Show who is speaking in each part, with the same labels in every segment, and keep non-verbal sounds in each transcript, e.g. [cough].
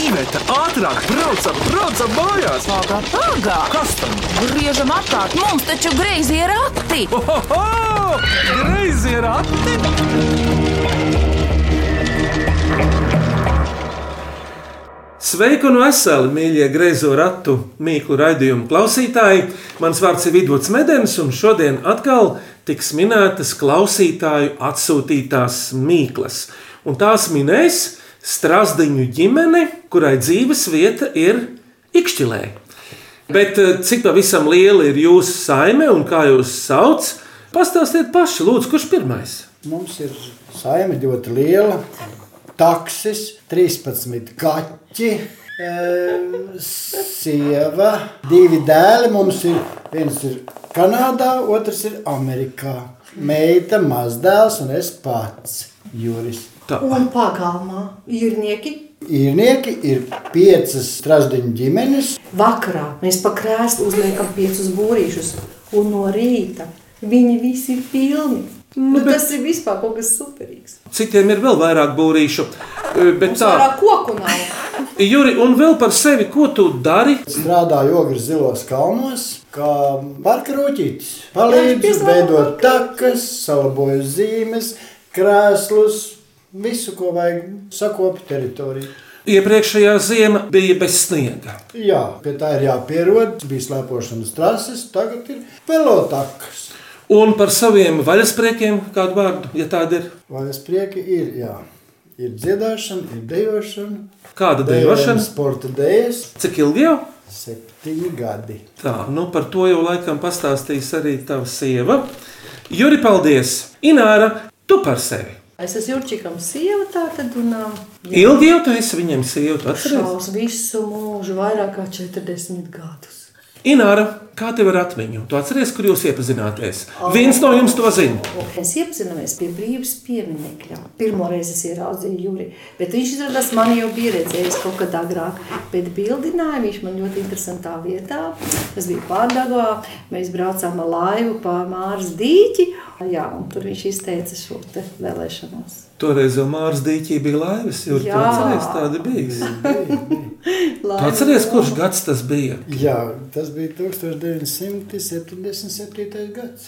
Speaker 1: Iveta, ātrāk, braucam, braucam mājās!
Speaker 2: Pagā, pagā!
Speaker 1: Kas tam?
Speaker 2: Griežam apkārt, mums taču greizi ir akti!
Speaker 1: Oho! Greizi ir ati!
Speaker 3: Sveiki un veseli, mīļie greizo ratu mīklu raidījumu klausītāji! Mans vārds ir Vidvuds Medens, un šodien atkal tiks minētas klausītāju atsūtītās mīklas. Un tās minēs Strasdiņu ģimene, kurai dzīves vieta ir Ikšķilē. Bet eh, cik pavisam liela ir jūsu saime un kā jūs sauc, pastāstiet paši, lūdzu, kurš pirmais?
Speaker 4: Mums ir saime ļoti liela. Taksis, 13 kaķi, em, sieva, divi dēli. Mums ir viens ir Kanādā, otrs ir Amerikā. Meita, mazdēls un es pats. Juris.
Speaker 3: Tā.
Speaker 5: Un pagalmā jūrnieki
Speaker 4: Īrnieki ir piecas strasdiņu ģimenes.
Speaker 5: vakarā mēs pa krēslu uzliekam piecus būrīšus, un no rīta viņi visi ir pilni. Nu, bet... Tas ir vispār kaut kas superīgs.
Speaker 3: Citiem ir vēl vairāk būrīšu. eh, Bet
Speaker 5: Mums vairāk koku nav.
Speaker 3: Juri, un vēl par sevi, ko tu dari?
Speaker 4: Strādāju ogres zilos kalnos, kā parka roķītis.
Speaker 5: Jā, es
Speaker 4: Palīdzu
Speaker 5: pieslēdzu
Speaker 4: veidot
Speaker 5: parka
Speaker 4: takas, salaboju zīmes, krēslus, visu, ko vajag sakopu teritoriju.
Speaker 3: Iepriekšējā ziema bija bez sniega.
Speaker 4: Jā, pie tā ir jāpierod. Bija slēpošanas trases, tagad ir velotakas.
Speaker 3: Un par saviem vaļaspriekiem kādu vārdu, ja tāda ir.
Speaker 4: Vai es prieki ir, jā. Ir dziedāšana, ir dejošana.
Speaker 3: Kāda dejošana?
Speaker 4: Sporta dēļas,
Speaker 3: Cik ilgi jau?
Speaker 4: septiņi gadi.
Speaker 3: Tā, nu par to jau laikam pastāstīs arī tava sieva. Juri, paldies! Ināra, tu par sevi!
Speaker 5: Es esmu Jurčikam sieva tātad un ā,
Speaker 3: Ilgi jau tu esi viņiem sieva, tu atceries?
Speaker 5: šaus visu mūžu vairāk kā 40 gadus.
Speaker 3: Ināra, kā tev ir atmiņu? Tu atceries, kur jūs iepazināties? Viens no jums to zina.
Speaker 5: Mēs iepazināmies pie brīvības pieminiekļa. Pirmoreiz es ieraudzīju Juri, bet viņš izrādās man jau bija redzējis kaut kad agrāk. Bet bildināja viņš man ļoti interesantā vietā. Tas bija Pārdagā. Mēs braucām ar laivu pa Māras dīķi. Jā, un tur viņš izteica šo te vēlēšanos.
Speaker 3: Toreiz jau Mārs Dīķī bija laivas, jo tu
Speaker 5: Jā.
Speaker 3: atceries tāda bijis. Tu
Speaker 5: Laiva
Speaker 3: atceries,
Speaker 5: brauc-
Speaker 3: kurš gads tas bija?
Speaker 4: Jā, tas bija 1977. gads.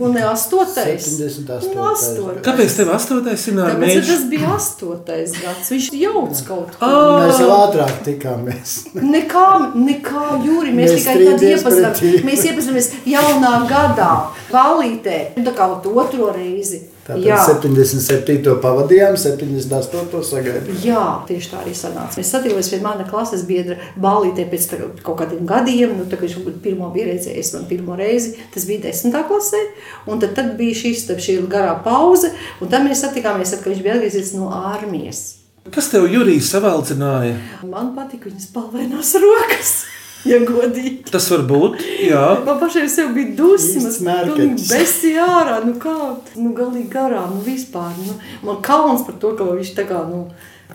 Speaker 5: Un ne astotais.
Speaker 4: 78.
Speaker 5: Un astotais.
Speaker 3: Kāpēc tev astotais ir
Speaker 5: Tāpēc, ka
Speaker 3: nākamais?
Speaker 5: tas bija astotais gads. Viņš jauc kaut ko.
Speaker 4: Mēs jau ātrāk tikāmies.
Speaker 5: Nekā, nekā jūri, mēs, mēs
Speaker 4: Mēs
Speaker 5: tikai tad
Speaker 4: strīdamies
Speaker 5: iepazīstamies.
Speaker 4: pretī.
Speaker 5: Mēs iepazīstamies jaunā gadā, valītē, nu, tā kā otro reizi.
Speaker 4: Tātad
Speaker 5: Jā.
Speaker 4: 77. pavadījām, 78. sagaidījām.
Speaker 5: Jā, tieši tā arī sanāca. Mēs satikāmies pie mana klases biedra Balītē pēc tā, kaut kādiem gadiem. Nu, tā, kā viņš varbūt pirmo bija redzējis man pirmo reizi, tas bija desmitā klasē. Un tad, tad bija šis, tad šī garā pauze, un tad mēs satikāmies, tad, kad viņš bija atgriezies no ārmijas.
Speaker 3: Kas tev jūrijas savaldzināja?
Speaker 5: Man patika viņas palvainās rokas, [laughs] ja godīgi.
Speaker 3: Tas var būt. Jā.
Speaker 5: Man pašai sev bija dusmas,
Speaker 4: Īsts mērķis.
Speaker 5: pilnīgi besi ārā, nu kā, nu galīgi garām, nu vispār. Nu, man kauns par to, ka viņš tā kā, nu,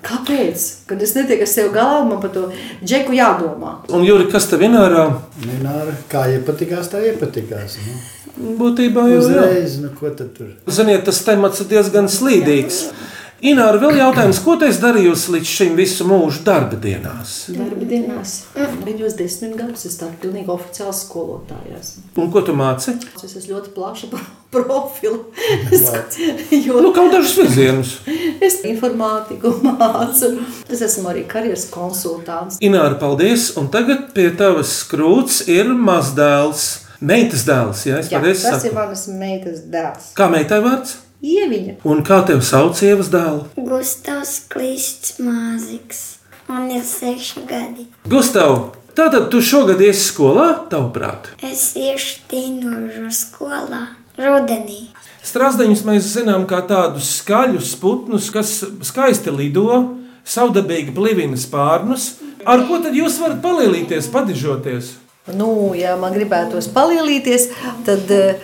Speaker 5: kāpēc? Kad es netieku ar sev galā, man par to džeku jādomā.
Speaker 3: Un Juri, kas tev vienā
Speaker 4: Minēra, kā iepatikās, tā iepatikās. Nu.
Speaker 3: būtībā jau ir?
Speaker 4: Uzreiz, nu ko tad tur?
Speaker 3: Ziniet, tas temats ir diezgan slīdīgs. Ināra, vēl jautājums, ko te esi darījusi līdz šim visu mūžu darba dienās?
Speaker 5: Darba dienās. Mm. Viņos desmit gadus es tādu pilnīgi oficiāli skolotājās.
Speaker 3: Un ko tu māci?
Speaker 5: Es esmu ļoti plaša pro- [laughs] profilu. Es, [laughs] jo,
Speaker 3: Nu, kaut dažus virzienus.
Speaker 5: es informātiku mācu. Es esmu arī karjeras konsultants.
Speaker 3: Ināra, paldies. Un tagad pie tavas skrūts ir mazdēls, meitas dēls. Jā, es
Speaker 5: Jā,
Speaker 3: pareizi
Speaker 5: tas ir
Speaker 3: saku.
Speaker 5: manas meitas dēls.
Speaker 3: Kā meitai vārds?
Speaker 5: Ieviņa.
Speaker 3: Un kā tev sauc ievas dēlu?
Speaker 6: Gustavs Klists Māziks. Man ir seši gadi.
Speaker 3: Gustav, tātad tu šogad iesi skolā, tavuprāt?
Speaker 6: Es iešu tīnožu skolā rudenī.
Speaker 3: Strasdeņus mēs zinām kā tādus skaļus putnus, kas skaisti lido, savdabīgi plivina spārnus. Ar ko tad jūs varat palīdzēties, padižoties?
Speaker 5: Nu, ja man gribētos palielīties, tad eh,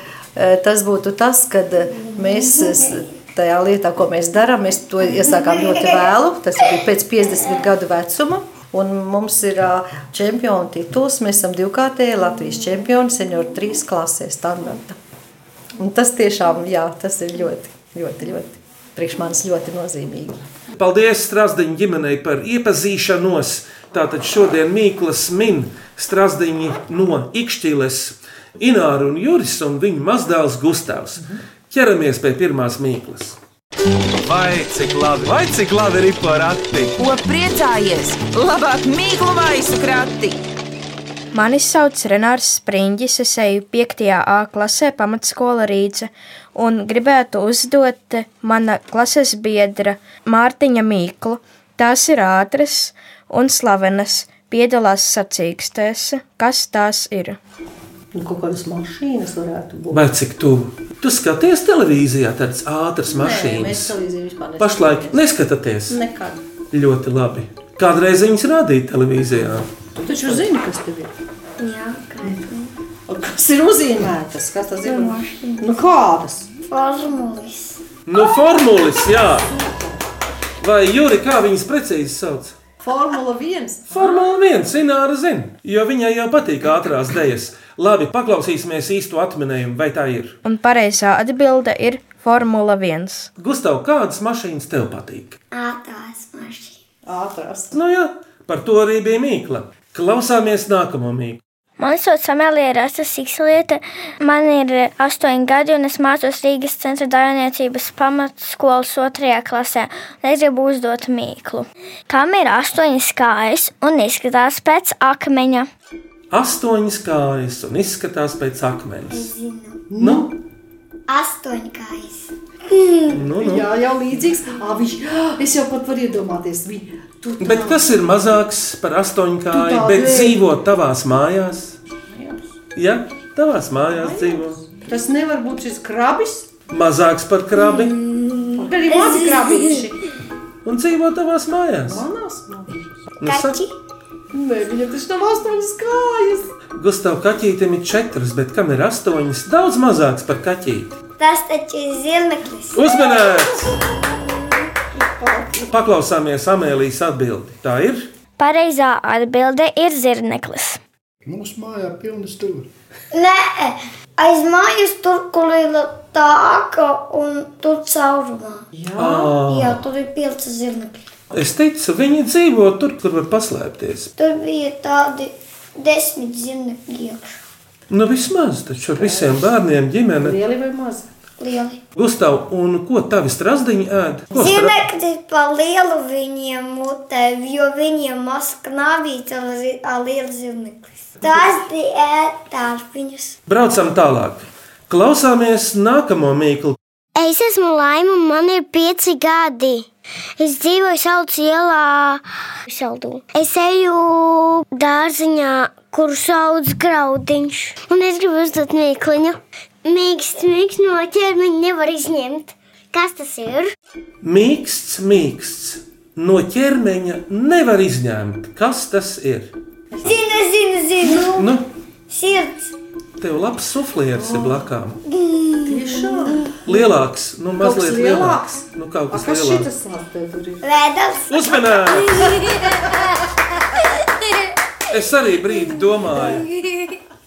Speaker 5: tas būtu tas, kad eh, mēs eh, tajā lietā, ko mēs darām, mēs to iesākām ļoti vēlu. Tas bija pēc 50 gadu vecuma. Un mums ir ā, čempionu tituls. Mēs esam divkārtēji Latvijas čempioni senioru trīs klasē standarta. Un tas tiešām, jā, tas ir ļoti, ļoti, ļoti priekš manis ļoti nozīmīgi.
Speaker 3: Paldies Strasdiņa ģimenei par iepazīšanos. Tātad šodien Mīklas min Strasdiņi no Ikšķīles, Ināra un Juris un viņa mazdēls Gustavs. Ķeramies pie pirmās mīklas.
Speaker 1: Vai cik labi, vai cik labi ir porati?
Speaker 2: Ko priecājies? Labāk mīklu maisu krati!
Speaker 7: Mani sauc Renārs Springis, es eju 5. A klasē, pamatskola Rīce, un gribētu uzdot mana klases biedra Mārtiņa Mīklu. Tās ir ātras un slavenas, piedalās sacīkstēs. Kas tās ir?
Speaker 5: Nu, kaut kādas mašīnas varētu būt.
Speaker 3: Vai cik tuvu? Tu skaties televīzijā, tādas ātras mašīnas.
Speaker 5: mēs televīziju vispār neskatāmies.
Speaker 3: Pašlaik neskatāties.
Speaker 5: Nekad.
Speaker 3: Ļoti labi. Kādreiz viņas rādīja televīzijā.
Speaker 5: Tu taču zini, kas tev ir.
Speaker 6: Jā, kāpēc?
Speaker 5: Un Kas ir uzzīmētas? Kas tas ir? Nu, kādas?
Speaker 6: Formulis.
Speaker 3: Nu, formulas, jā. Vai Juri, kā viņas precīzi sauc?
Speaker 5: Formula 1.
Speaker 3: Formula 1, Ināra zina, jo viņai jau patīk ātrās dēļas. Labi, paklausīsimies īsto atminējumu, vai tā ir.
Speaker 7: Un pareizā atbilde ir Formula 1.
Speaker 3: Gustav, kādas mašīnas tev patīk?
Speaker 6: Ātrās mašīnas.
Speaker 5: Ātrās.
Speaker 3: Nu jā, par to arī bija mīkla. Klausāmies nākamo mīklu.
Speaker 8: Man sauc Amelija Rasa Siksliete, man ir eh, astoņi gadi un es mācos Rīgas centra dārniecības pamatskolas otrajā klasē. Un Es gribu uzdot mīklu. Tam ir astoņas kājas un izskatās pēc akmeņa.
Speaker 3: Astoņas kājas un izskatās pēc akmens.
Speaker 6: Zinu.
Speaker 3: Nu,
Speaker 6: Astoņkājas.
Speaker 3: nu, nu.
Speaker 5: Jā, jau līdzīgs. Ā, viņš, [gasps] es jau pat varu iedomāties. Viņa, tu, tā,
Speaker 3: Bet kas ir mazāks par astoņkāju,
Speaker 5: Tu tā
Speaker 3: bet
Speaker 5: zini.
Speaker 3: dzīvo tavās mājās? Jā, tavās mājās dzīvo.
Speaker 5: Tas nevar būt šis krabis.
Speaker 3: Mazāks par krabi
Speaker 5: Mm. Tur arī mazi krabīši.
Speaker 3: un dzīvo tavās mājās.
Speaker 5: Manās mājās.
Speaker 3: Nu, saki,
Speaker 5: Nē, viņam taču nav astoņas kājas.
Speaker 3: Gustav, kaķītim ir četras, bet kam ir astoņas? Daudz mazāks par kaķīti.
Speaker 6: Tas taču ir zilneklis.
Speaker 3: Uzmanīgs! Paklausāmies Amēlijas atbildi. Tā ir.
Speaker 8: Pareizā atbilde ir zirneklis.
Speaker 4: Mums mājā pilnas tur.
Speaker 6: Nē, aiz mājas tur, kur ir tā aka un tur caurumā.
Speaker 5: Jā.
Speaker 6: Jā, tur ir pieci zirnekļi.
Speaker 3: Es teicu, viņi dzīvo tur, kur var paslēpties.
Speaker 6: Tur bija tādi desmit zirnekļi iekšā.
Speaker 3: Nu, vismaz taču ar visiem bērniem ģimene.
Speaker 5: Lieli vai mazi?
Speaker 6: Lieli.
Speaker 3: Gustav, un ko tavi strasdiņi ēd? Ko stra-
Speaker 6: Zirnekļi pa lielu viņiem mutē, jo viņiem maz knāvīca ar lielu zirneklis. Tas bija ētās viņus.
Speaker 3: Braucam tālāk. Klausāmies nākamo mīklu.
Speaker 8: Es esmu laima, un man ir pieci gadi. Es dzīvoju Saucu ielā, Saldū. Es eju dārziņā, kur sauc graudiņš. Un es gribu uzdot mīkluņu. Mīksts, mīksts no ķermeņa nevar izņemt. Kas tas ir?
Speaker 3: Mīksts, mīksts. No ķermeņa nevar izņemt. Kas tas ir?
Speaker 6: Zinu, zinu, zinu.
Speaker 3: Nu,
Speaker 6: Sirds.
Speaker 3: tev labs suflieris ir blakām.
Speaker 5: Tiešām.
Speaker 3: Lielāks, nu, mazliet
Speaker 5: kas
Speaker 3: lielāks.
Speaker 5: lielāks?
Speaker 3: Nu, kaut
Speaker 5: A,
Speaker 3: kas
Speaker 5: kas
Speaker 3: lielāks.
Speaker 5: šitas sāc tev tur ir? [laughs]
Speaker 6: Ledus.
Speaker 3: Uzmanīgi! Es arī brīdi domāju,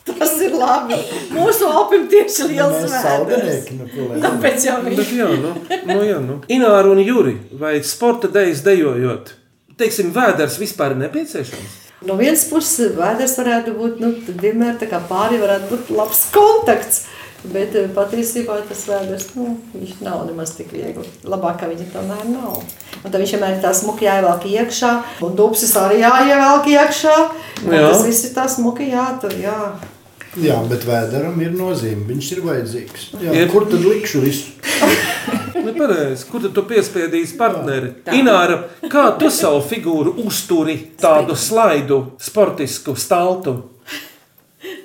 Speaker 5: Tas ir labi. Mūsu opim tieši liels
Speaker 4: Mēs
Speaker 5: vēders.
Speaker 4: saldinieki, nu, ko lai.
Speaker 5: Tāpēc jau viņš.
Speaker 3: bet jā, nu, nu, jā, nu. Ināra un Juri, vai sporta dēļas dejojot, teiksim, vēders vispār ir nepieciešams?
Speaker 5: No vienas puses, vēders varētu būt nu, tad vienmēr tā kā pāri, varētu būt labs kontakts. Bet eh, patiesībā tas vēders nu, viņš nav nemaz tik viegli. Labāk, ka viņa tomēr nav. Un tad viņš vienmēr ir tā smuki jāievelk iekšā, un dūpsis arī jāievelk iekšā. Un
Speaker 3: Jā.
Speaker 5: Tas viss ir tā smuki jātur. Jā.
Speaker 4: Jā, bet vēderam ir nozīme. Viņš ir vajadzīgs. Jā,
Speaker 3: Ir.
Speaker 4: Kur tad likšu visu?
Speaker 3: Nu, pareizi. Kur tad tu piespiedīsi partneri? Ināra, kā tu savu figūru uzturi tādu slaidu, sportisku stāstu?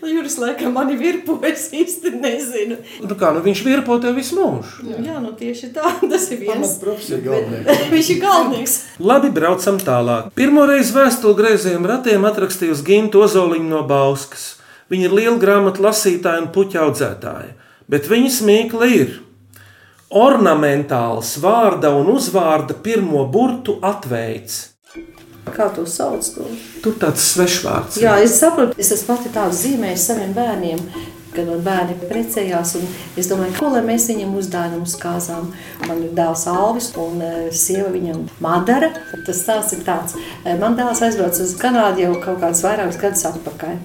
Speaker 5: Nu, Juris laikam mani virpojas īsti nezinu.
Speaker 3: Nu, kā nu viņš virpo tev visu mūžu?
Speaker 5: Jā, jā nu tieši tā, [laughs] tas ir viens.
Speaker 4: Profesija galvenais.
Speaker 5: [laughs] Viņš ir galvenais.
Speaker 3: Labi, braucam tālāk. Pirmoreiz vēstuli grēzējiem ratiem atrakstījusi Ginta Ozoliņa no Bauskas. Viņa ir liela grāmatu lasītāja un puķa audzētāja, bet viņas mīkla ir. Ornamentāls vārda un uzvārda pirmo burtu atveids.
Speaker 5: Kā to sauc? To?
Speaker 3: Tur tāds svešvārds.
Speaker 5: Jā, es saprotu, es esmu pati tādu zīmēju saviem bērniem, kad man bērni precējās. un Es domāju, ko lai mēs viņam uzdāvinām uz kāzām. Man ir dēls Alvis un eh, sieva viņam Madara. Tas stāsts ir tāds. eh, Man dēls aizbrauca uz Kanādu jau kaut kādus vairākus gadus atpakaļ.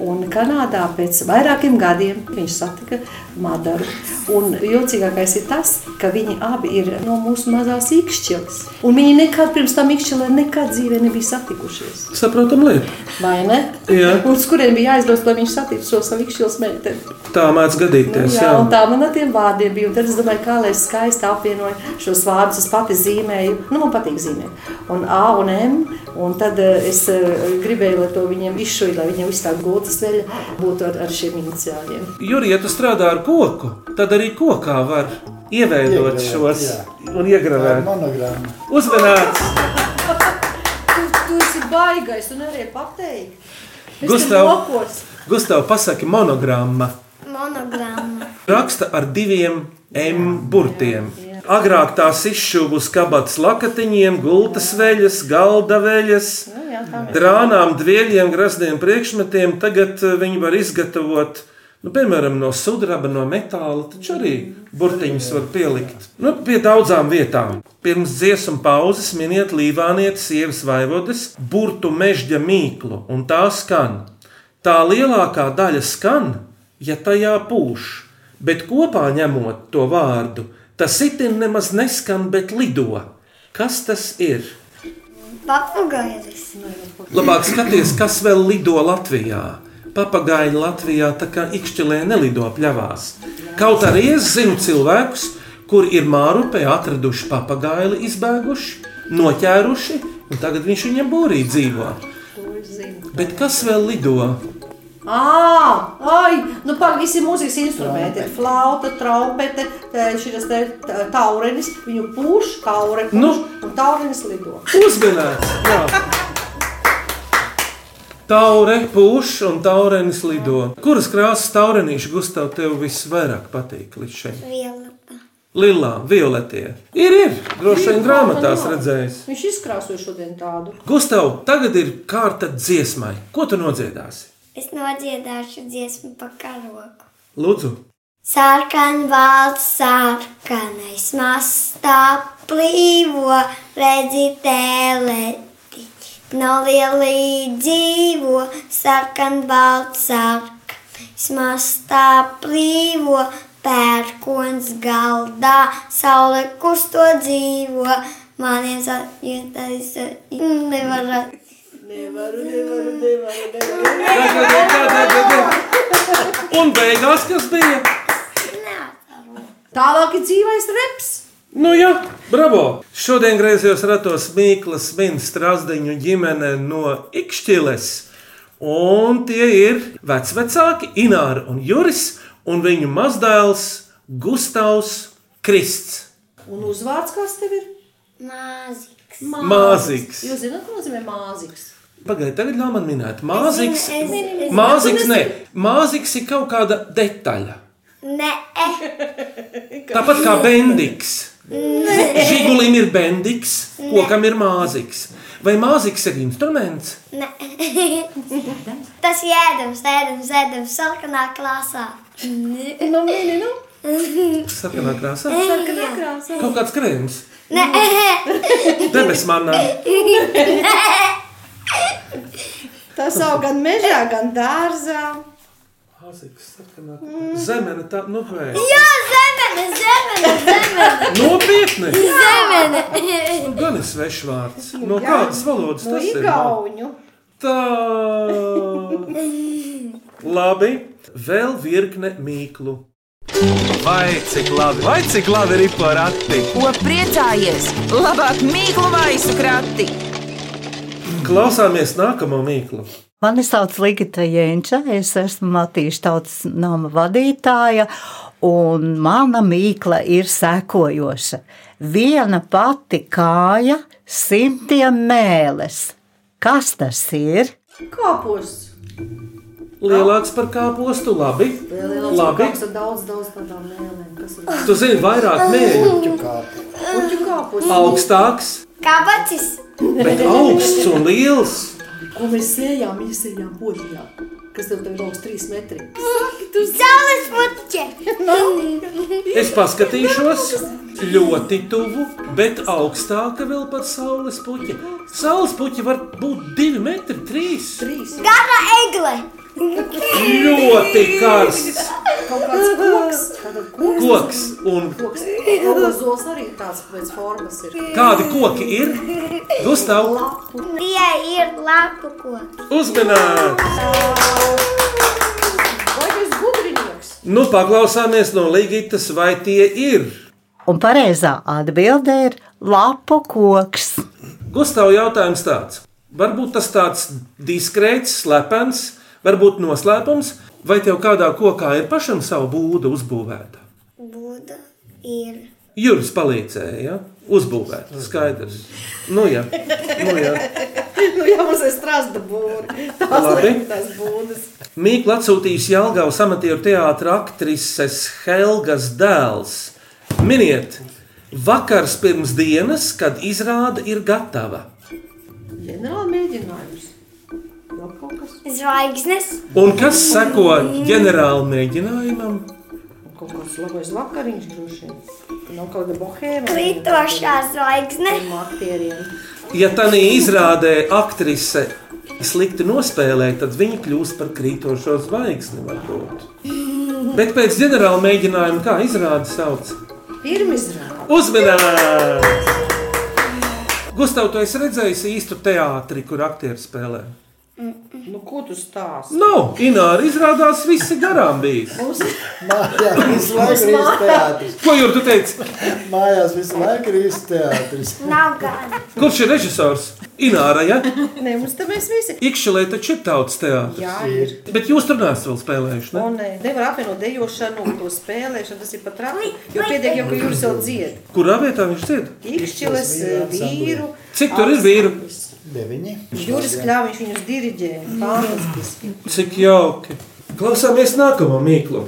Speaker 5: Un Kanādā pēc vairākiem gadiem viņš satika Madaru. Un jocīgākais ir tas, ka viņi abi ir no mūsu mazās īkšķeles. Un viņi nekad pirms tam īkšķelē nekad dzīvē nebija satikušies.
Speaker 3: Saprotam lietu.
Speaker 5: Vai ne?
Speaker 3: Jā.
Speaker 5: Uz kuriem bija jāizbrauc, lai viņš satiktu šo savu ikšķilas meiteni.
Speaker 3: Tā mēdz
Speaker 5: Nu,
Speaker 3: gadīties.
Speaker 5: jā,
Speaker 3: Jā,
Speaker 5: un tā man ar tiem vārdiem bija. Un Tad es domāju, kā lai es skaisti apvienoju šos vārdus. Es pati zīmēju, nu, man patīk zīmēt. Un A un M. Un tad eh, es eh, gribēju, lai to viņiem izšuļ, lai viņiem viss tā gultas veļa būtu ar, ar šiem iniciāliem.
Speaker 3: Juri, ja tu strādā ar koku, tad arī kokā var ieveidot
Speaker 4: Iegravēt,
Speaker 3: šos
Speaker 4: jā.
Speaker 3: un
Speaker 4: Tā ir
Speaker 3: iegravēt.
Speaker 4: monogramma.
Speaker 3: Uzmanīts!
Speaker 5: Tu, tu esi baigais un arī pateikt.
Speaker 3: Es te Gustav. Gustav, pasaki monogramma.
Speaker 6: Monogramma.
Speaker 3: Raksta ar diviem M burtiem. Agrāk tās izšuva uz kabatas lakatiņiem, gultas veļas, galda veļas, drānām, dvieļiem, grazniem priekšmetiem. Tagad eh, viņi var izgatavot. Nu, piemēram, no sudraba, no metāla, taču arī burtiņus var pielikt. Nu, pie daudzām vietām. Pirms dziesmu pauzes miniet līvānietes, sievas vaivodes, burtu mežģa mīklu, un tā skan. Tā lielākā daļa skan, ja tajā pūš, bet kopā ņemot to vārdu, tas itin nemaz neskan, bet lido. Kas tas ir?
Speaker 6: Papagailis.
Speaker 3: Labāk skaties, kas vēl lido Latvijā. Papagaļi Latvijā tā kā ikšķelē nelido pļavās. Kaut arī es zinu cilvēkus, kur ir mārupē atraduši papagaili, izbēguši, noķēruši, un tagad viņš viņam būrī dzīvo. Bet kas vēl lido?
Speaker 5: Ah, ai, nu pār visi mūzikas instrumenti ir flauta, trompete, šis te tā- taurenis, viņu pūš, kaure pūš,
Speaker 3: Nu.
Speaker 5: un taurenis lido.
Speaker 3: Uzmanīts! jā. Taure pūš un taurenis lido. Kuras krāsas taurenīši Gustav tev visvairāk patīk līdz šim?
Speaker 6: Vielapa.
Speaker 3: Lilā, violetie. Ir, ir, droši vien grāmatās redzējis.
Speaker 5: Viņš izkrāsoja šodien tādu.
Speaker 3: Gustav, tagad ir kārta dziesmai. Ko tu nodziedāsi?
Speaker 6: Es nodziedāšu dziesmu par karogu.
Speaker 3: Lūdzu,
Speaker 6: Sarkan valds, sarkanais mastā plīvo, redzi teleti. No lielī dzīvo, sarkan valds, sarkanais mastā plīvo, pērkons galdā, saule kusto dzīvo. Man ir zināms, ka nevarat.
Speaker 5: Nevaru, nevaru, nevaru. nevaru.
Speaker 3: tagad, tagad, tagad, tagad. un beigās kas bija?
Speaker 5: Tālāk ir dzīvais reps.
Speaker 3: Nu, jā, bravo! Šodien griezos ratos Mikls, Mīnas Strasdeņu ģimene no Ikšķiles. Un tie ir vecāki Ināra un Juris un viņu mazdēls Gustavs Krists.
Speaker 5: Un uzvārds kas tev ir?
Speaker 6: Māziks.
Speaker 3: Māziks.
Speaker 5: Jūs zināt, ko nozīmē māziks?
Speaker 3: Pagaidiet, tagad ļauj man minēt, māziks.
Speaker 6: Es- es-
Speaker 3: Māziks, ne, māziks ir kaut kāda detaļa.
Speaker 6: Nē,
Speaker 3: Tāpat kā bendiks. Žigulim ir bendiks, kokam ir māziks. Vai māziks ir instruments?
Speaker 6: nē. Tas jēdams, ēdams, ēdams, sarkanā klāsā.
Speaker 5: Nu, mini, nu.
Speaker 3: Sarkanā krāsā.
Speaker 6: Sarkanā
Speaker 3: Kaut kāds krēms,
Speaker 6: Nē,
Speaker 3: debesis manā.
Speaker 5: Tas aug gan mežā, gan dārzā.
Speaker 3: Zemene tā, nu, vai.
Speaker 6: jā, zemene, zemene, zemene,
Speaker 3: Nopietni!
Speaker 6: zemene.
Speaker 3: Nu, Gan ir svešs vārds. No kādas valodas
Speaker 5: No
Speaker 3: tas ir?
Speaker 5: igauņu.
Speaker 3: Tā. Labi, vēl virkne mīklu.
Speaker 1: Vai cik labi, vai cik labi ir porakti!
Speaker 2: Ko priecājies? Labāk mīklu maisu krati!
Speaker 3: Klausāmies nākamo mīklu.
Speaker 9: Mani sauc Ligita Jēnča, es esmu Matīša tautas nama vadītāja, un mana mīkla ir sekojoša. Viena pati kāja simtiem mēles. Kas tas ir?
Speaker 5: Kāpos.
Speaker 3: Lielāks par kāpostu, labi.
Speaker 5: Labi.
Speaker 3: labi.
Speaker 5: Daudz, daudz tādām mēlēm. Kas ir?
Speaker 3: Tu zini, vairāk mēģi.
Speaker 5: [laughs] Uķu kāpos.
Speaker 3: Augstāks,
Speaker 6: Kabacis,
Speaker 3: bet augsts un liels.
Speaker 5: Ko mēs sējām, iesējām, podījām. kas tev tagad augsts trīs metri.
Speaker 6: Zāles puķe!
Speaker 3: Es paskatīšos ļoti tuvu, bet augstāka vēl par saules puķi. Saules puķi var būt divi metri, trīs.
Speaker 5: Trīs.
Speaker 6: Gara egle!
Speaker 3: Ļoti karsts
Speaker 5: Kaut kāds koks, tāda koks.
Speaker 3: koks. Un
Speaker 5: Koks. Ozols arī tāds pēc formas ir.
Speaker 3: kādi koki ir? Gustav,
Speaker 6: Tie ir lapu koki.
Speaker 3: uzmanīt!
Speaker 5: Vai tas gudrinieks?
Speaker 3: Nu, paklausāmies no Ligitas, vai tie ir.
Speaker 9: Un pareizā atbildē ir lapu koks.
Speaker 3: Gustav, jautājums tāds. Varbūt tas tāds diskrēts, slepens, varbūt noslēpums, vai tev kādā kokā ir pašam savu būdu uzbūvēta?
Speaker 6: Buda ir.
Speaker 3: Juris palīdzēja, ja? uzbūvēt, skaidrs. Nu, jā, nu, jā.
Speaker 5: [laughs] Nu, jā, mums ir strāsta būri. Tās
Speaker 3: Labi.
Speaker 5: ir tās būdas.
Speaker 3: Mīkla atsūtījis Jālgavas amatieru teātra aktrises Helgas dēls. Miniet, vakars pirms dienas, kad izrāda ir gatava.
Speaker 5: Ģenerāli mēģinājums. Vēl kaut kas.
Speaker 6: Zvaigznes.
Speaker 3: Un kas seko ģenerāla mēģinājumam?
Speaker 5: Kaut kāds labais vakariņš droši vien. Nav kaut kāda bohēma.
Speaker 6: Kritošā zvaigzne.
Speaker 5: Tiem aktieriem.
Speaker 3: Ja tā neizrādē aktrise slikti nospēlē, tad viņa kļūst par krītošo zvaigzni. varbūt. Bet pēc ģenerāla mēģinājuma, kā izrāda sauc?
Speaker 5: Pirmizrāde.
Speaker 3: Uzmanības! Gustav, tu esi redzējis īstu teātri, kur aktieri spēlē.
Speaker 5: Nu, ko tu stāsti?
Speaker 3: Nav, Ināra, izrādās visi garām bijis.
Speaker 4: Mājās visu laiku ir īsts teātris.
Speaker 3: Ko jau tu teici?
Speaker 4: Mājās visu laiku ir īsts teātris.
Speaker 6: Nav gana.
Speaker 3: Kurš ir režisors? Ināra, ja?
Speaker 5: [laughs] Nē, mums te mēs visi.
Speaker 3: Ikšķelē taču ir tautas teātris.
Speaker 5: Jā, ir.
Speaker 3: Bet jūs tur neesat vēl spēlējuši,
Speaker 5: O,
Speaker 3: ne?
Speaker 5: nē, eh, nevar apvienot dejošanu un to spēlēšanu. Tas ir pat rāmi. Jo pietiek jau, ka jūs jau dzied.
Speaker 3: Kurā vietā viņš dzied?
Speaker 5: Ikšķiles, vīru.
Speaker 3: Cik tur ir vīru?
Speaker 4: Deviņi.
Speaker 5: Jūras kļāviņš viņus diriģē. Fantastiski.
Speaker 3: Cik jauki. Klausāmies nākamo mīklu.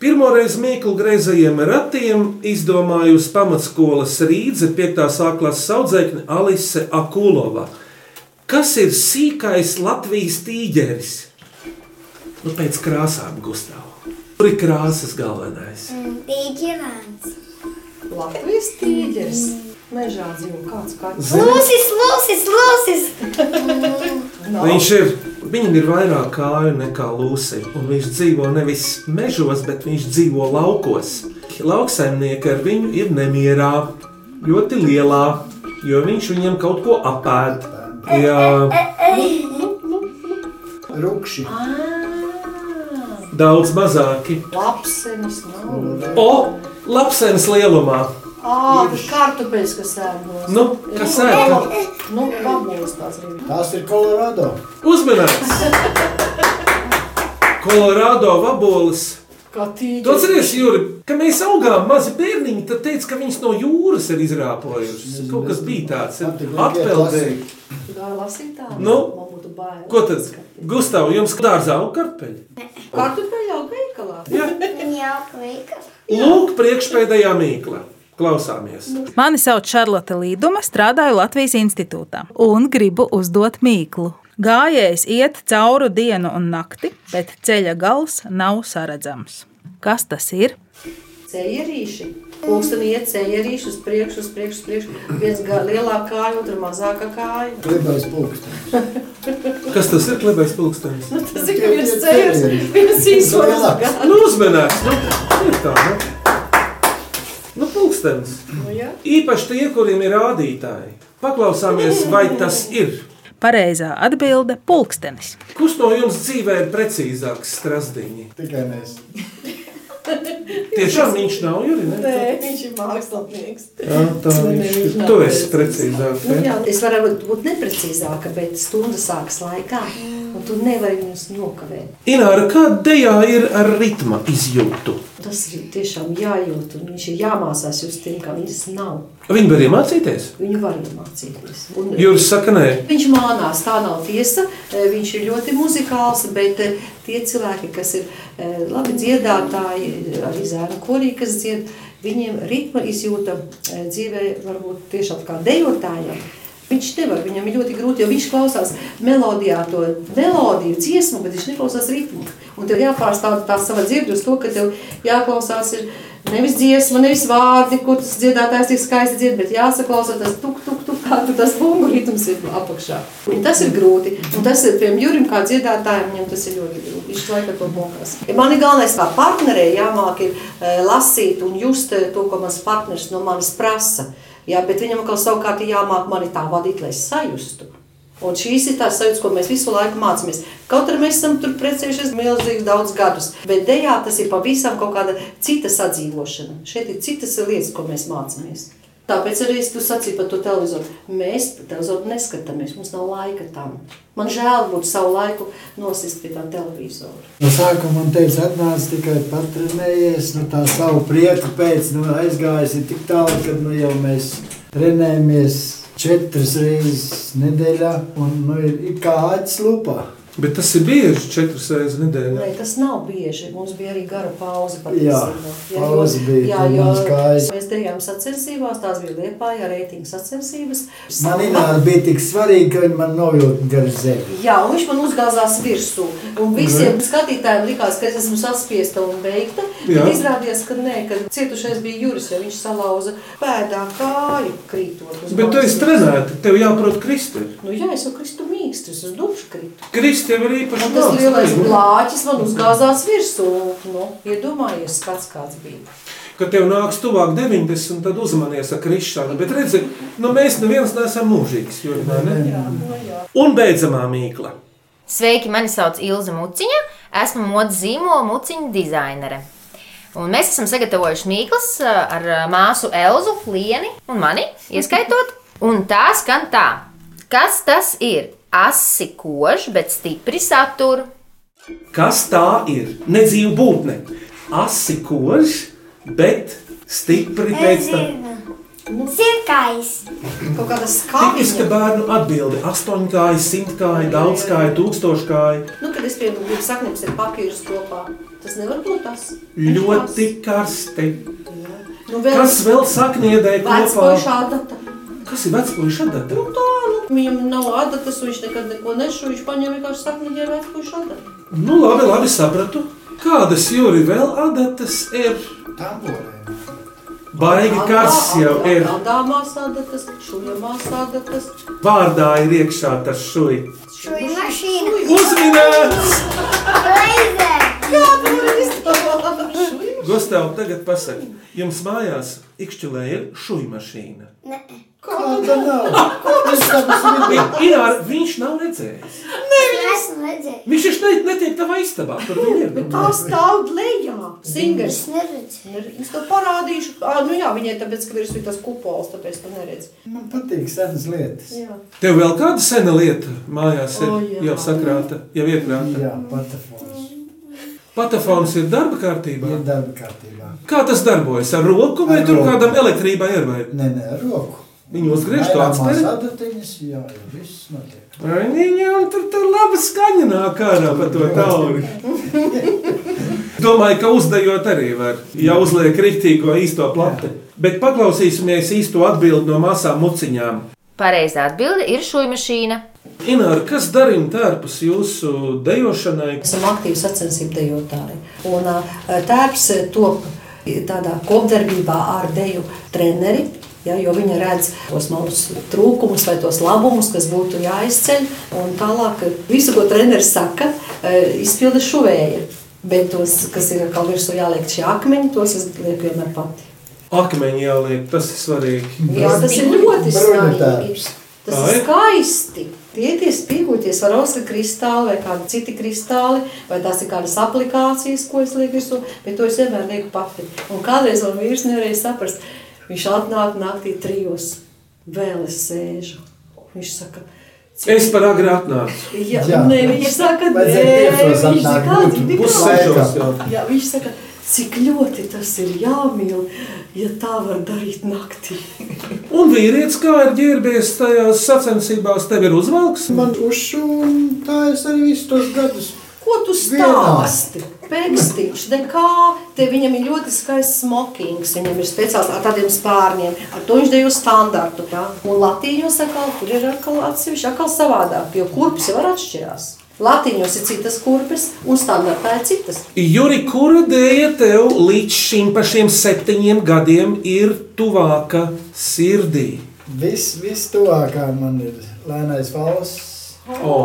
Speaker 3: Pirmoreiz mīklu greizajiem ratiem izdomājusi pamatskolas rīdze 5. A klases audzēkne Alise Akulova. Kas ir sīkais Latvijas tīģeris? Nu, pēc krāsām, Gustav. Tur ir krāsas galvenais.
Speaker 6: Tīģerāns.
Speaker 5: Latvijas tīģeris. Mežā dzīvo kāds kāds.
Speaker 6: Lūsis, lūsis, lūsis.
Speaker 3: Viņš ir, viņam ir vairāk kāju nekā Lūsija. Viņš dzīvo nevis mežos, bet viņš dzīvo laukos. Lauksaimnieki ar viņu ir nemierā, ļoti lielā, jo viņš viņam kaut ko apēd. Jā,
Speaker 4: Rukši.
Speaker 3: daudz mazāki.
Speaker 5: Lapsenis nav.
Speaker 3: O, lapsēns lielumā.
Speaker 5: Ā, tas kartupeļs, kas ēdos.
Speaker 3: Nu, kas ēta?
Speaker 5: Nu, pabūs tās rīves.
Speaker 4: Tās ir Kolorādo.
Speaker 3: Uzmanīgs! Kolorādo vabolis.
Speaker 5: Kā
Speaker 3: Tu
Speaker 5: tīģeris.
Speaker 3: atceries, Juri, ka mēs augām mazi bērniņi, tad teica, ka viņas no jūras ir izrāpojušas. Kaut kas bija tāds -
Speaker 4: Atpildēji.
Speaker 3: atpeldēji.
Speaker 5: Tu gāji lasīt tā?
Speaker 3: Nu?
Speaker 5: Man būtu bail.
Speaker 3: Ko tad, Gustav, jums dārzā auga kartupeļi?
Speaker 5: Kartupeļi jau veikalā.
Speaker 3: Jā.
Speaker 6: Jā, veikals.
Speaker 3: Lūk, priekšpēdējā mīkla. Klausāmies.
Speaker 2: Mani sauc Šarlote Līduma, strādāju Latvijas institūtā un gribu uzdot mīklu. Gājējs iet cauri dienu un nakti, bet ceļa gals nav saredzams. Kas tas ir?
Speaker 5: Ceļerīši. Pulksteni iet ceļerīši uz priekšu, uz priekšu, uz priekšu. Viens gā lielā kāja, otra mazāka kāja.
Speaker 4: Klibais pulkstenis.
Speaker 3: Kas tas ir klebais pulkstenis?
Speaker 5: [laughs] Tas ir ka viens ceļeris, viens īso mazākā.
Speaker 3: Nu, uzmanīgs! Nu, ir tā, nu. Nu, pulkstenis.
Speaker 5: Nu, jā.
Speaker 3: Īpaši tie, kuriem ir rādītāji. Paklausāmies, vai tas ir.
Speaker 2: Pareizā atbilde - pulkstenis.
Speaker 3: Kurš no jums dzīvē ir precīzāks strasdiņi?
Speaker 4: Tikai mēs.
Speaker 3: Tiešām viņš nav, Juri, ne?
Speaker 5: Nē, viņš ir mākslinieks.
Speaker 3: Jā, tā viņš ir. Tu esi eh? precīzāk.
Speaker 5: Nu,
Speaker 3: ne?
Speaker 5: jā, es varu būt neprecīzāka, bet stunda sākas laikā, un tu nevari viņus nokavēt.
Speaker 3: Ināra, kā dejā ir ar ritma izjūtu?
Speaker 5: Tas ir tiešām jājūt, un viņš ir jāmācās justiem, kā viņas nav.
Speaker 3: Viņa var iemācīties.
Speaker 5: Viņu var iemācīties. Un,
Speaker 3: Jūras saka, nē,
Speaker 5: Viņš mānās, tā nav tiesa. e, Viņš ir ļoti muzikāls, bet e, tie cilvēki, kas ir e, labi dziedātāji, e, arī zēna korī, kas eh, dzied, viņiem ritma izjūta e, dzīvē varbūt tiešām kā dejotājiem. Viņš nevar, viņam ir ļoti grūti, jo viņš klausās melodijā to melodiju, dziesmu, bet viņš neklausās ritmu. Un tev jāpārstāv tā sava dzirdi uz to, ka tev jāklausās ir nevis dziesma, nevis vārdi, ko tas dziedātājs tik skaisti dzied, bet jāsaklausās tas tuk, tuk, tuk, kā tu tas bungu ritms ir apakšā. Un tas ir grūti. Un tas ir, piemēram, Jurim kā dziedātājiem, viņam tas ir ļoti grūti. Viņš laika to mokās. Ja man ir galvenais kā partnerē jāmāk ir eh, lasīt un just eh, to, ko mans partneris no manis prasa. Jā, bet viņam atkal savukārt ir jāmāk mani tā vadīt, lai es sajustu. Un šīs ir tās sajūtas, ko mēs visu laiku mācāmies. Kaut arī mēs esam tur precējušies milzīgi daudz gadus, bet dejā tas ir pavisam kaut kāda cita sadzīvošana. Šeit ir citas lietas, ko mēs mācāmies. Tāpēc arī es tu sacīju par to televizoru. Mēs televizoru neskatāmies, mums nav laika tam. Man žēl būtu savu laiku nosist pie tā televizora.
Speaker 4: No sākuma man teica, atnāc tikai patrenējies, nu tā savu prieku pēc, nu aizgājis ir tik tālu, ka nu jau mēs trenējamies četras reizes nedēļā un nu ir it kā acis lupā.
Speaker 3: Bet tas ir bieži četras reizes nedēļā.
Speaker 5: Nē, tas nav bieži. Mums bija arī gara pauze.
Speaker 4: Jā, pauze bija,
Speaker 5: jā,
Speaker 4: kad
Speaker 5: jo
Speaker 4: mums gājas.
Speaker 5: mēs darījām sacensībās, tās bija liepā, ja reitinga sacensības.
Speaker 4: Man Ināra bija tik svarīgi, ka viņa man novjūta gar zemi.
Speaker 5: Jā, un viņš man uzgāzās virsū. Un visiem
Speaker 3: Nu.
Speaker 5: skatītājiem likās, ka es esmu saspiesta un beigta.
Speaker 3: Jā.
Speaker 5: Tad izrādījās, ka nē, ka cietušais bija Juris, jo viņš salauza pēdā kāju krītot. uz
Speaker 3: Bet tu esi
Speaker 5: balsis.
Speaker 3: trenēta, tev jāprot kristi.
Speaker 5: Nu jā, es jau kristu mīkstu, es uz dušu kritu.
Speaker 3: Kristi jau ir īpaši
Speaker 5: Un tas
Speaker 3: daudz.
Speaker 5: lielais blāķis man uzgāzās virsū. Nu, iedomājies, skats kāds bija.
Speaker 3: Kad tev nāks tuvāk 90, tad uzmanies ar krišanu. Bet redzi, nu mēs neviens neesam mūžīgs. Juri, vai ne? Un beidzamā mīkla.
Speaker 10: Sveiki, mani sauc Ilza Muciņa. Esmu modes zīmola muciņa dizainere. Un mēs esam sagatavojuši mīklas eh, ar eh, māsu Elzu, Lienu un mani ieskaitot. Un tā skan tā, kas tas ir? Asi kož, bet stipri satur.
Speaker 3: Kas tā ir? Nedzīva būtne. Asi kož, bet stipri pēc tam.
Speaker 6: Zirgais.
Speaker 5: Kaut kāda
Speaker 3: Tipiska
Speaker 5: skābiņa.
Speaker 3: bērnu atbilde - astoņkāji, simtkāji, daudzkāji, tūkstoškāji.
Speaker 5: Nu, kad es piemēram gribu sakņus ar papīrus kopā, tas nevar būt tas.
Speaker 3: Ļoti karsti.
Speaker 5: Nu, vēl
Speaker 3: Kas vēl sakniedē kopā?
Speaker 5: Vecpuiša adata.
Speaker 3: Kas ir vecpuiša adata?
Speaker 5: Nu tā, nu, viņam nav adatas, viņš nekad neko nešu, viņš paņem vienkārši sakniņu ar vecpuiša adatu.
Speaker 3: Nu, labi, labi, sapratu. Kādas jūri vēl adatas ir?
Speaker 4: Tamborē.
Speaker 3: Baigi karsts jau ir.
Speaker 5: Tādāmās adatas, šujamās adatas.
Speaker 3: Vārdā ir iekšā tas šūj.
Speaker 6: Šī mašīna.
Speaker 3: Uzminēts!
Speaker 6: Reizē.
Speaker 5: [laughs]
Speaker 3: Gustav, tagad pasaki, jums mājās ikšķilē ir šūj mašīna.
Speaker 4: Kāda Ah, nav? Es tam smidu.
Speaker 3: Jā, viņš nav redzējis.
Speaker 6: Esmu redzējis.
Speaker 3: Viņš taču ne, netiek tavā istabā, tur viņi ir.
Speaker 5: Tā stāv lejā. Singers.
Speaker 6: Es neredzēju.
Speaker 5: Es to parādīšu. Ā, nu jā, viņai tāpēc, ka virsū ir tas kupols, tāpēc tu neredz.
Speaker 4: Man patīk senas lietas.
Speaker 5: Jā.
Speaker 3: Tev vēl kāda sena lieta mājās ir
Speaker 5: O,
Speaker 3: oh,
Speaker 5: jā.
Speaker 3: jau sakrāta, jau iekrāta.
Speaker 4: Jā, patafons.
Speaker 3: Patafons ir darba kārtībā.
Speaker 4: Ir darba kārtībā.
Speaker 3: Kā tas darbojas? Ar roku vai
Speaker 4: Ar
Speaker 3: tur
Speaker 4: roku.
Speaker 3: kādam elektrībai ir vai?
Speaker 4: Nē, nē, ar roku.
Speaker 3: Viņi uzgriež to
Speaker 4: Vairākās
Speaker 3: atspēri.
Speaker 4: adatiņas, jā, jā, viss notiek.
Speaker 3: Ai, Viņam tur tur laba skaņa nāk ārā pa to tauri. Domāju, ka uzdejot arī var, ja uzliek rītīgo īsto plati. Bet paklausīsimies īsto atbildi no māsām muciņām.
Speaker 10: Pareizā atbilde ir šūna mašīna.
Speaker 3: Ināra, kas darina tērpus jūsu dejošanai?
Speaker 5: Esam aktīvi sacensību dejotāji. Un ā, tērps ā, top tādā kopdarbībā ar deju treneri. Ja, jo viņi redz tos mūsu trūkumus vai tos labumus, kas būtu jāizceļ. Un tālāk visu, ko treneris saka, ā, izpilda šuvēja. Bet tos, kas ir kaut virsū jāliek šie akmeņi, tos es lieku vienmēr pati.
Speaker 3: Akmeņi jāliek, tas ir svarīgi.
Speaker 5: Jā, tas ir ļoti svarīgi.
Speaker 4: Bruņotērps.
Speaker 5: Tas
Speaker 3: Tā
Speaker 5: ir
Speaker 3: ir.
Speaker 5: skaisti. Tie tie spīguļoties Swarovski kristāli vai kādi citi kristāli, vai tās ir kādas aplikācijas, ko es lieku visu, bet to es vienmēr lieku pati. Un kādreiz man vīrs nevarēja saprast, viņš atnāk naktī trijos, vēl es sēžu. Viņš saka,
Speaker 3: Es par agri atnācu.
Speaker 5: jā, jā.
Speaker 4: Jā.
Speaker 5: Nē, viņš saka, nē,
Speaker 4: Vajadzēja piecos atnākt
Speaker 5: viņš saka,
Speaker 4: būtu.
Speaker 5: "Kāds
Speaker 3: Būs
Speaker 5: bija
Speaker 3: sešos jau.
Speaker 5: Jā, viņš saka, cik ļoti tas ir jāmīl, ja tā var darīt naktī.
Speaker 3: Un vīrietis, kā ir ģērbies tajās sacensībās, tev ir uzvalks?
Speaker 4: Man uzšu, un tā es arī visus tos gadus.
Speaker 5: Ko Ko tu stāsti? Pēkšņi, nekā. Te viņam ir ļoti skaists smokings. Viņam ir speciāls ar tādiem spārniem. Ar to viņš dejo standartu. Jā. Un latīņos atkal, tur ir atkal atsevišķi, atkal savādāk, jo kurpes var atšķirās. Latīņos ir citas kurpes, un standartā ir citas.
Speaker 3: Juri, kura dēļ tev līdz šim pašiem septiņiem gadiem ir tuvāka sirdī?
Speaker 4: Viss, viss tuvākā man ir lēnais valsts.
Speaker 3: O.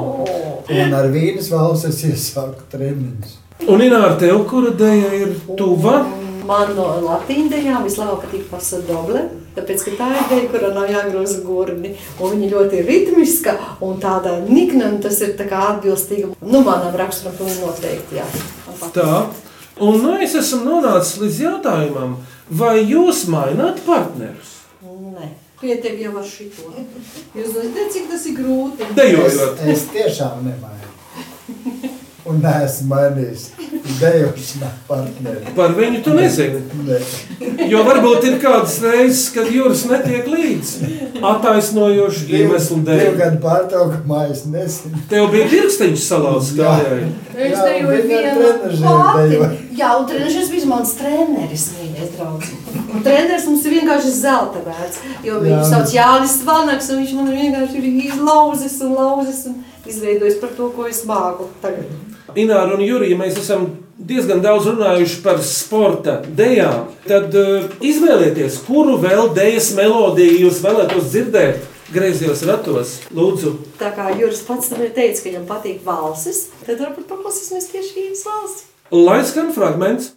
Speaker 4: Un ar vīnas valsts es iesāku treniņus.
Speaker 3: Un Ināra, tev kura dēļ ir tuva?
Speaker 5: Man no latīņa dēļām vislabāk patīk pasaule. Tāpēc, ka tā ir dēļa, kurā nav jāgroza gurni. Un viņa ļoti ritmiska un tāda nikna, un tas ir tā kā atbilstīga. Nu, manam raksturam pilnīgi noteikti, jā. Man patīk.
Speaker 3: Tā. Un nu, es esmu nonācis līdz jautājumam, vai jūs maināt partnerus?
Speaker 5: Nē. Pietiek jau ar šito. Jūs zināt, cik tas ir grūti.
Speaker 3: Dejojot.
Speaker 4: Es, es tiešām nemainu. Un neesmu mainījis dejošanā partneri.
Speaker 3: Par viņu tu nezini.
Speaker 4: Ne.
Speaker 3: Jo varbūt ir kādas reizes, kad jūras netiek līdzi. Attaisnojoši iemeslu
Speaker 4: Divu
Speaker 3: dēļ.
Speaker 4: gadu pārtraukumā es nezinu.
Speaker 3: Tev bija pirksteņš salauzt kājai.
Speaker 5: Es
Speaker 4: Jā,
Speaker 5: dejoju
Speaker 4: viņi ar
Speaker 5: viena
Speaker 4: trenažiem
Speaker 5: pati.
Speaker 4: dejo.
Speaker 5: Jā, un treneris bija mans treneris, mīļais draugs. Un treneris mums ir vienkārši zelta vērts, jo
Speaker 4: Jā.
Speaker 5: viņš sauc Jānis Vanaks, un viņš man vienkārši ir izlauzis un lauzis un izveidojis par to, ko es māku tagad.
Speaker 3: Ināra un Jurija, mēs esam diezgan daudz runājuši par sporta dejām. Tad uh, izvēlieties, kuru vēl dejas melodiju jūs vēlētos dzirdēt griezījos ratos. Lūdzu,
Speaker 5: Tā kā Juris pats tam ir teicis, ka viņam patīk valsis, tad varbūt paklausīsimies tieši viņas valsts.
Speaker 3: lai skan fragments.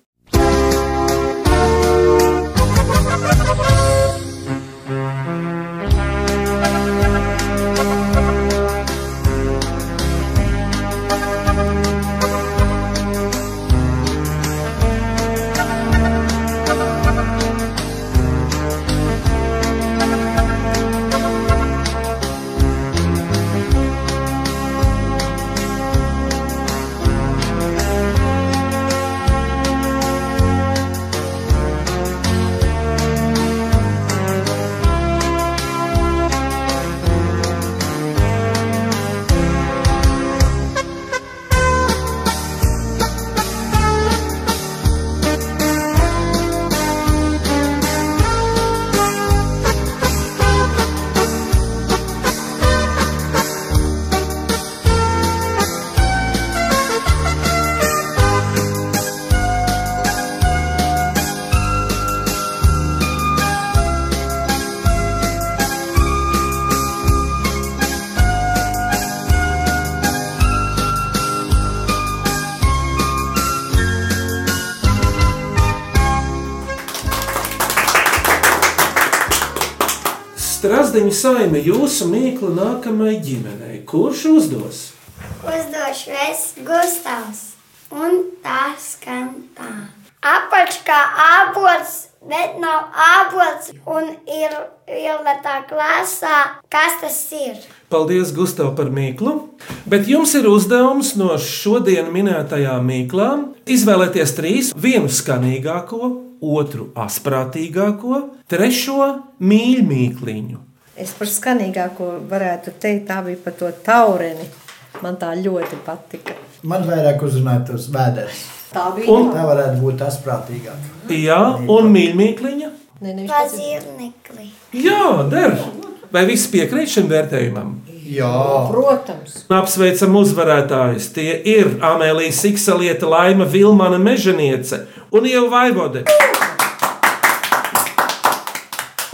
Speaker 3: Strasdiņa saime jūsu mīklu nākamajai ģimenei. Kurš uzdos?
Speaker 6: Uzdošu es Gustavs. Un tā skan tā. Apač kā ābols, bet nav ābols un ir ieletā klasā. Kas tas ir?
Speaker 3: Paldies, Gustav, par mīklu. Bet jums ir uzdevums no šodien minētajām mīklām izvēlēties trīs. Vienu skanīgāko, otru asprātīgāko, trešo mīļmīkliņu.
Speaker 5: Es par skanīgāko varētu teikt, tā bija par to taureni. Man tā ļoti patika.
Speaker 4: Man vairāk uzrunāja tos vēders.
Speaker 5: Tā bija.
Speaker 3: Un-
Speaker 4: Tā varētu būt tas prātīgāk.
Speaker 3: Jā, un mīļmīkliņa.
Speaker 5: Ne, ne,
Speaker 6: Pazīrnekli.
Speaker 3: Jā, der. Vai viss piekrīt šim vērtējumam?
Speaker 4: Jā,
Speaker 5: Protams.
Speaker 3: Apsveicam uzvarētājus. Tie ir Amēlija Siksalieta, Laima Vilmana Mežaniece un Ieva Vaivode.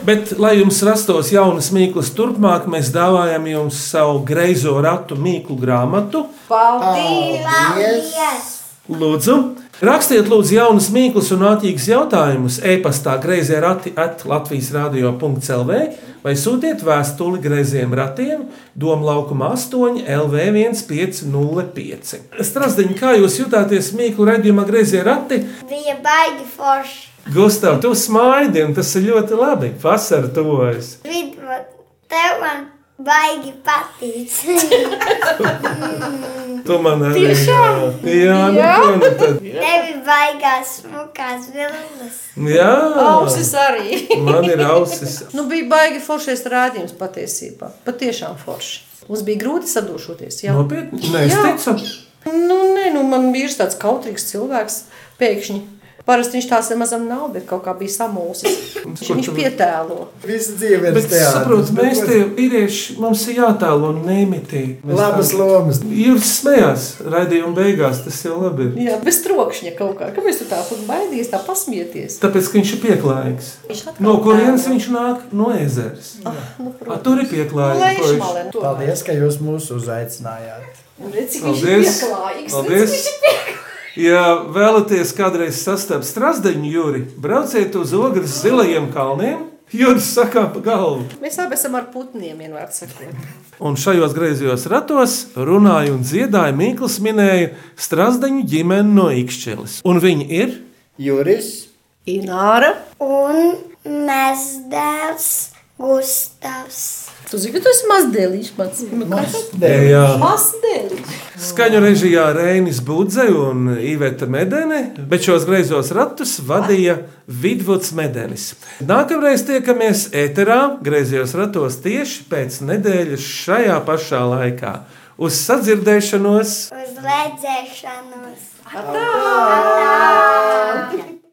Speaker 3: Bet, lai jums rastos jaunas mīklas, turpmāk mēs dāvājam jums savu greizo ratu mīklu grāmatu.
Speaker 5: Paldies!
Speaker 6: Paldies!
Speaker 3: Lūdzu, rakstiet lūdzu jaunas mīklas un ātrīgas jautājumus e-pastā grazē rati at Latvijas radio.clv vai sūtiet vēstuli grazējiem ratiem Doma laukuma 8 LV1505. Strasdiņ, kā jūs jutāties mīklu redzējumā grazē rati?
Speaker 6: Bija baigi forši.
Speaker 3: Gustav, tu smaidi un tas ir ļoti labi. Vasara tuvojas.
Speaker 6: Vidma, tev man baigi patīk.
Speaker 3: Tu man arī. Tiešām? Jā, nu ko nu tad?
Speaker 6: Tev ir baigās smukās vilnas.
Speaker 3: Jā.
Speaker 5: Ausis arī! [laughs]
Speaker 3: Man ir ausis.
Speaker 5: Nu, bija baigi foršais rādījums
Speaker 3: Nu.
Speaker 5: patiesībā. Patiešām forši. Mums bija grūti sadušoties. Jā,
Speaker 3: Nopietni? Nē, es
Speaker 5: Jā.
Speaker 3: ticu.
Speaker 5: Nu, nē, nu, man vīrs tāds kautrīgs cilvēks pēkšņi. Parasti viņš tāds nemaz nav, bet kaut kā
Speaker 3: [laughs]
Speaker 5: bija samulsis. Viņš pietēlo.
Speaker 4: Visu dzīvi ir
Speaker 3: Bet saprotiet, mēs te
Speaker 4: teātris.
Speaker 3: īrieši, mums ir jātēlo un neimitī. Mēs
Speaker 4: Labas
Speaker 3: tā-
Speaker 4: lomas.
Speaker 3: Jūs smējās raidījuma beigās, tas jau labi ir.
Speaker 5: Jā, bez trokšņa kaut kā. Kāpēc tu tā baidījies, tā pasmieties?
Speaker 3: Tāpēc, ka viņš ir pieklājīgs.
Speaker 5: Viņš atkal
Speaker 3: No kurienes
Speaker 5: tēlo.
Speaker 3: viņš nāk? No ezeres.
Speaker 5: Nu,
Speaker 3: A, tur ir pieklājīgi. puiši.
Speaker 5: Lēšmalē, nu, tomēr.
Speaker 4: Paldies, ka jūs mūs uzaicinājāt.
Speaker 5: Redzi, cik viņš ir
Speaker 3: Paldies!
Speaker 5: pieklājīgs, redzi,
Speaker 3: Paldies!
Speaker 5: viņš ir
Speaker 3: Ja vēlaties kādreiz sastapt strasdeņu jūri, brauciet uz ogres zilajiem kalniem, jūras sakā pa galvu.
Speaker 5: Mēs abi esam ar putniem, vienmēr sakot.
Speaker 3: Un šajos griezījos ratos runāja un dziedāja Mikls minēja strasdeņu ģimeni no Ikšķeles. Un viņi ir
Speaker 4: Juris,
Speaker 5: Ināra,
Speaker 6: Un mēs dēls Gustavs.
Speaker 5: tu zini, ka tu esi mazdēlīšs pats. Nu, kā tu-
Speaker 3: Jā.
Speaker 5: Mazdēlīšs.
Speaker 3: skaņu režijā Rēnis Budze un Iveta Medene, bet šos griezos ratus vadīja Vidvuds Medenis. Nākamreiz tiekamies ēterā griezījos ratos tieši pēc nedēļas šajā pašā laikā. Uz sadzirdēšanos!
Speaker 6: Uz redzēšanos!
Speaker 5: Tā!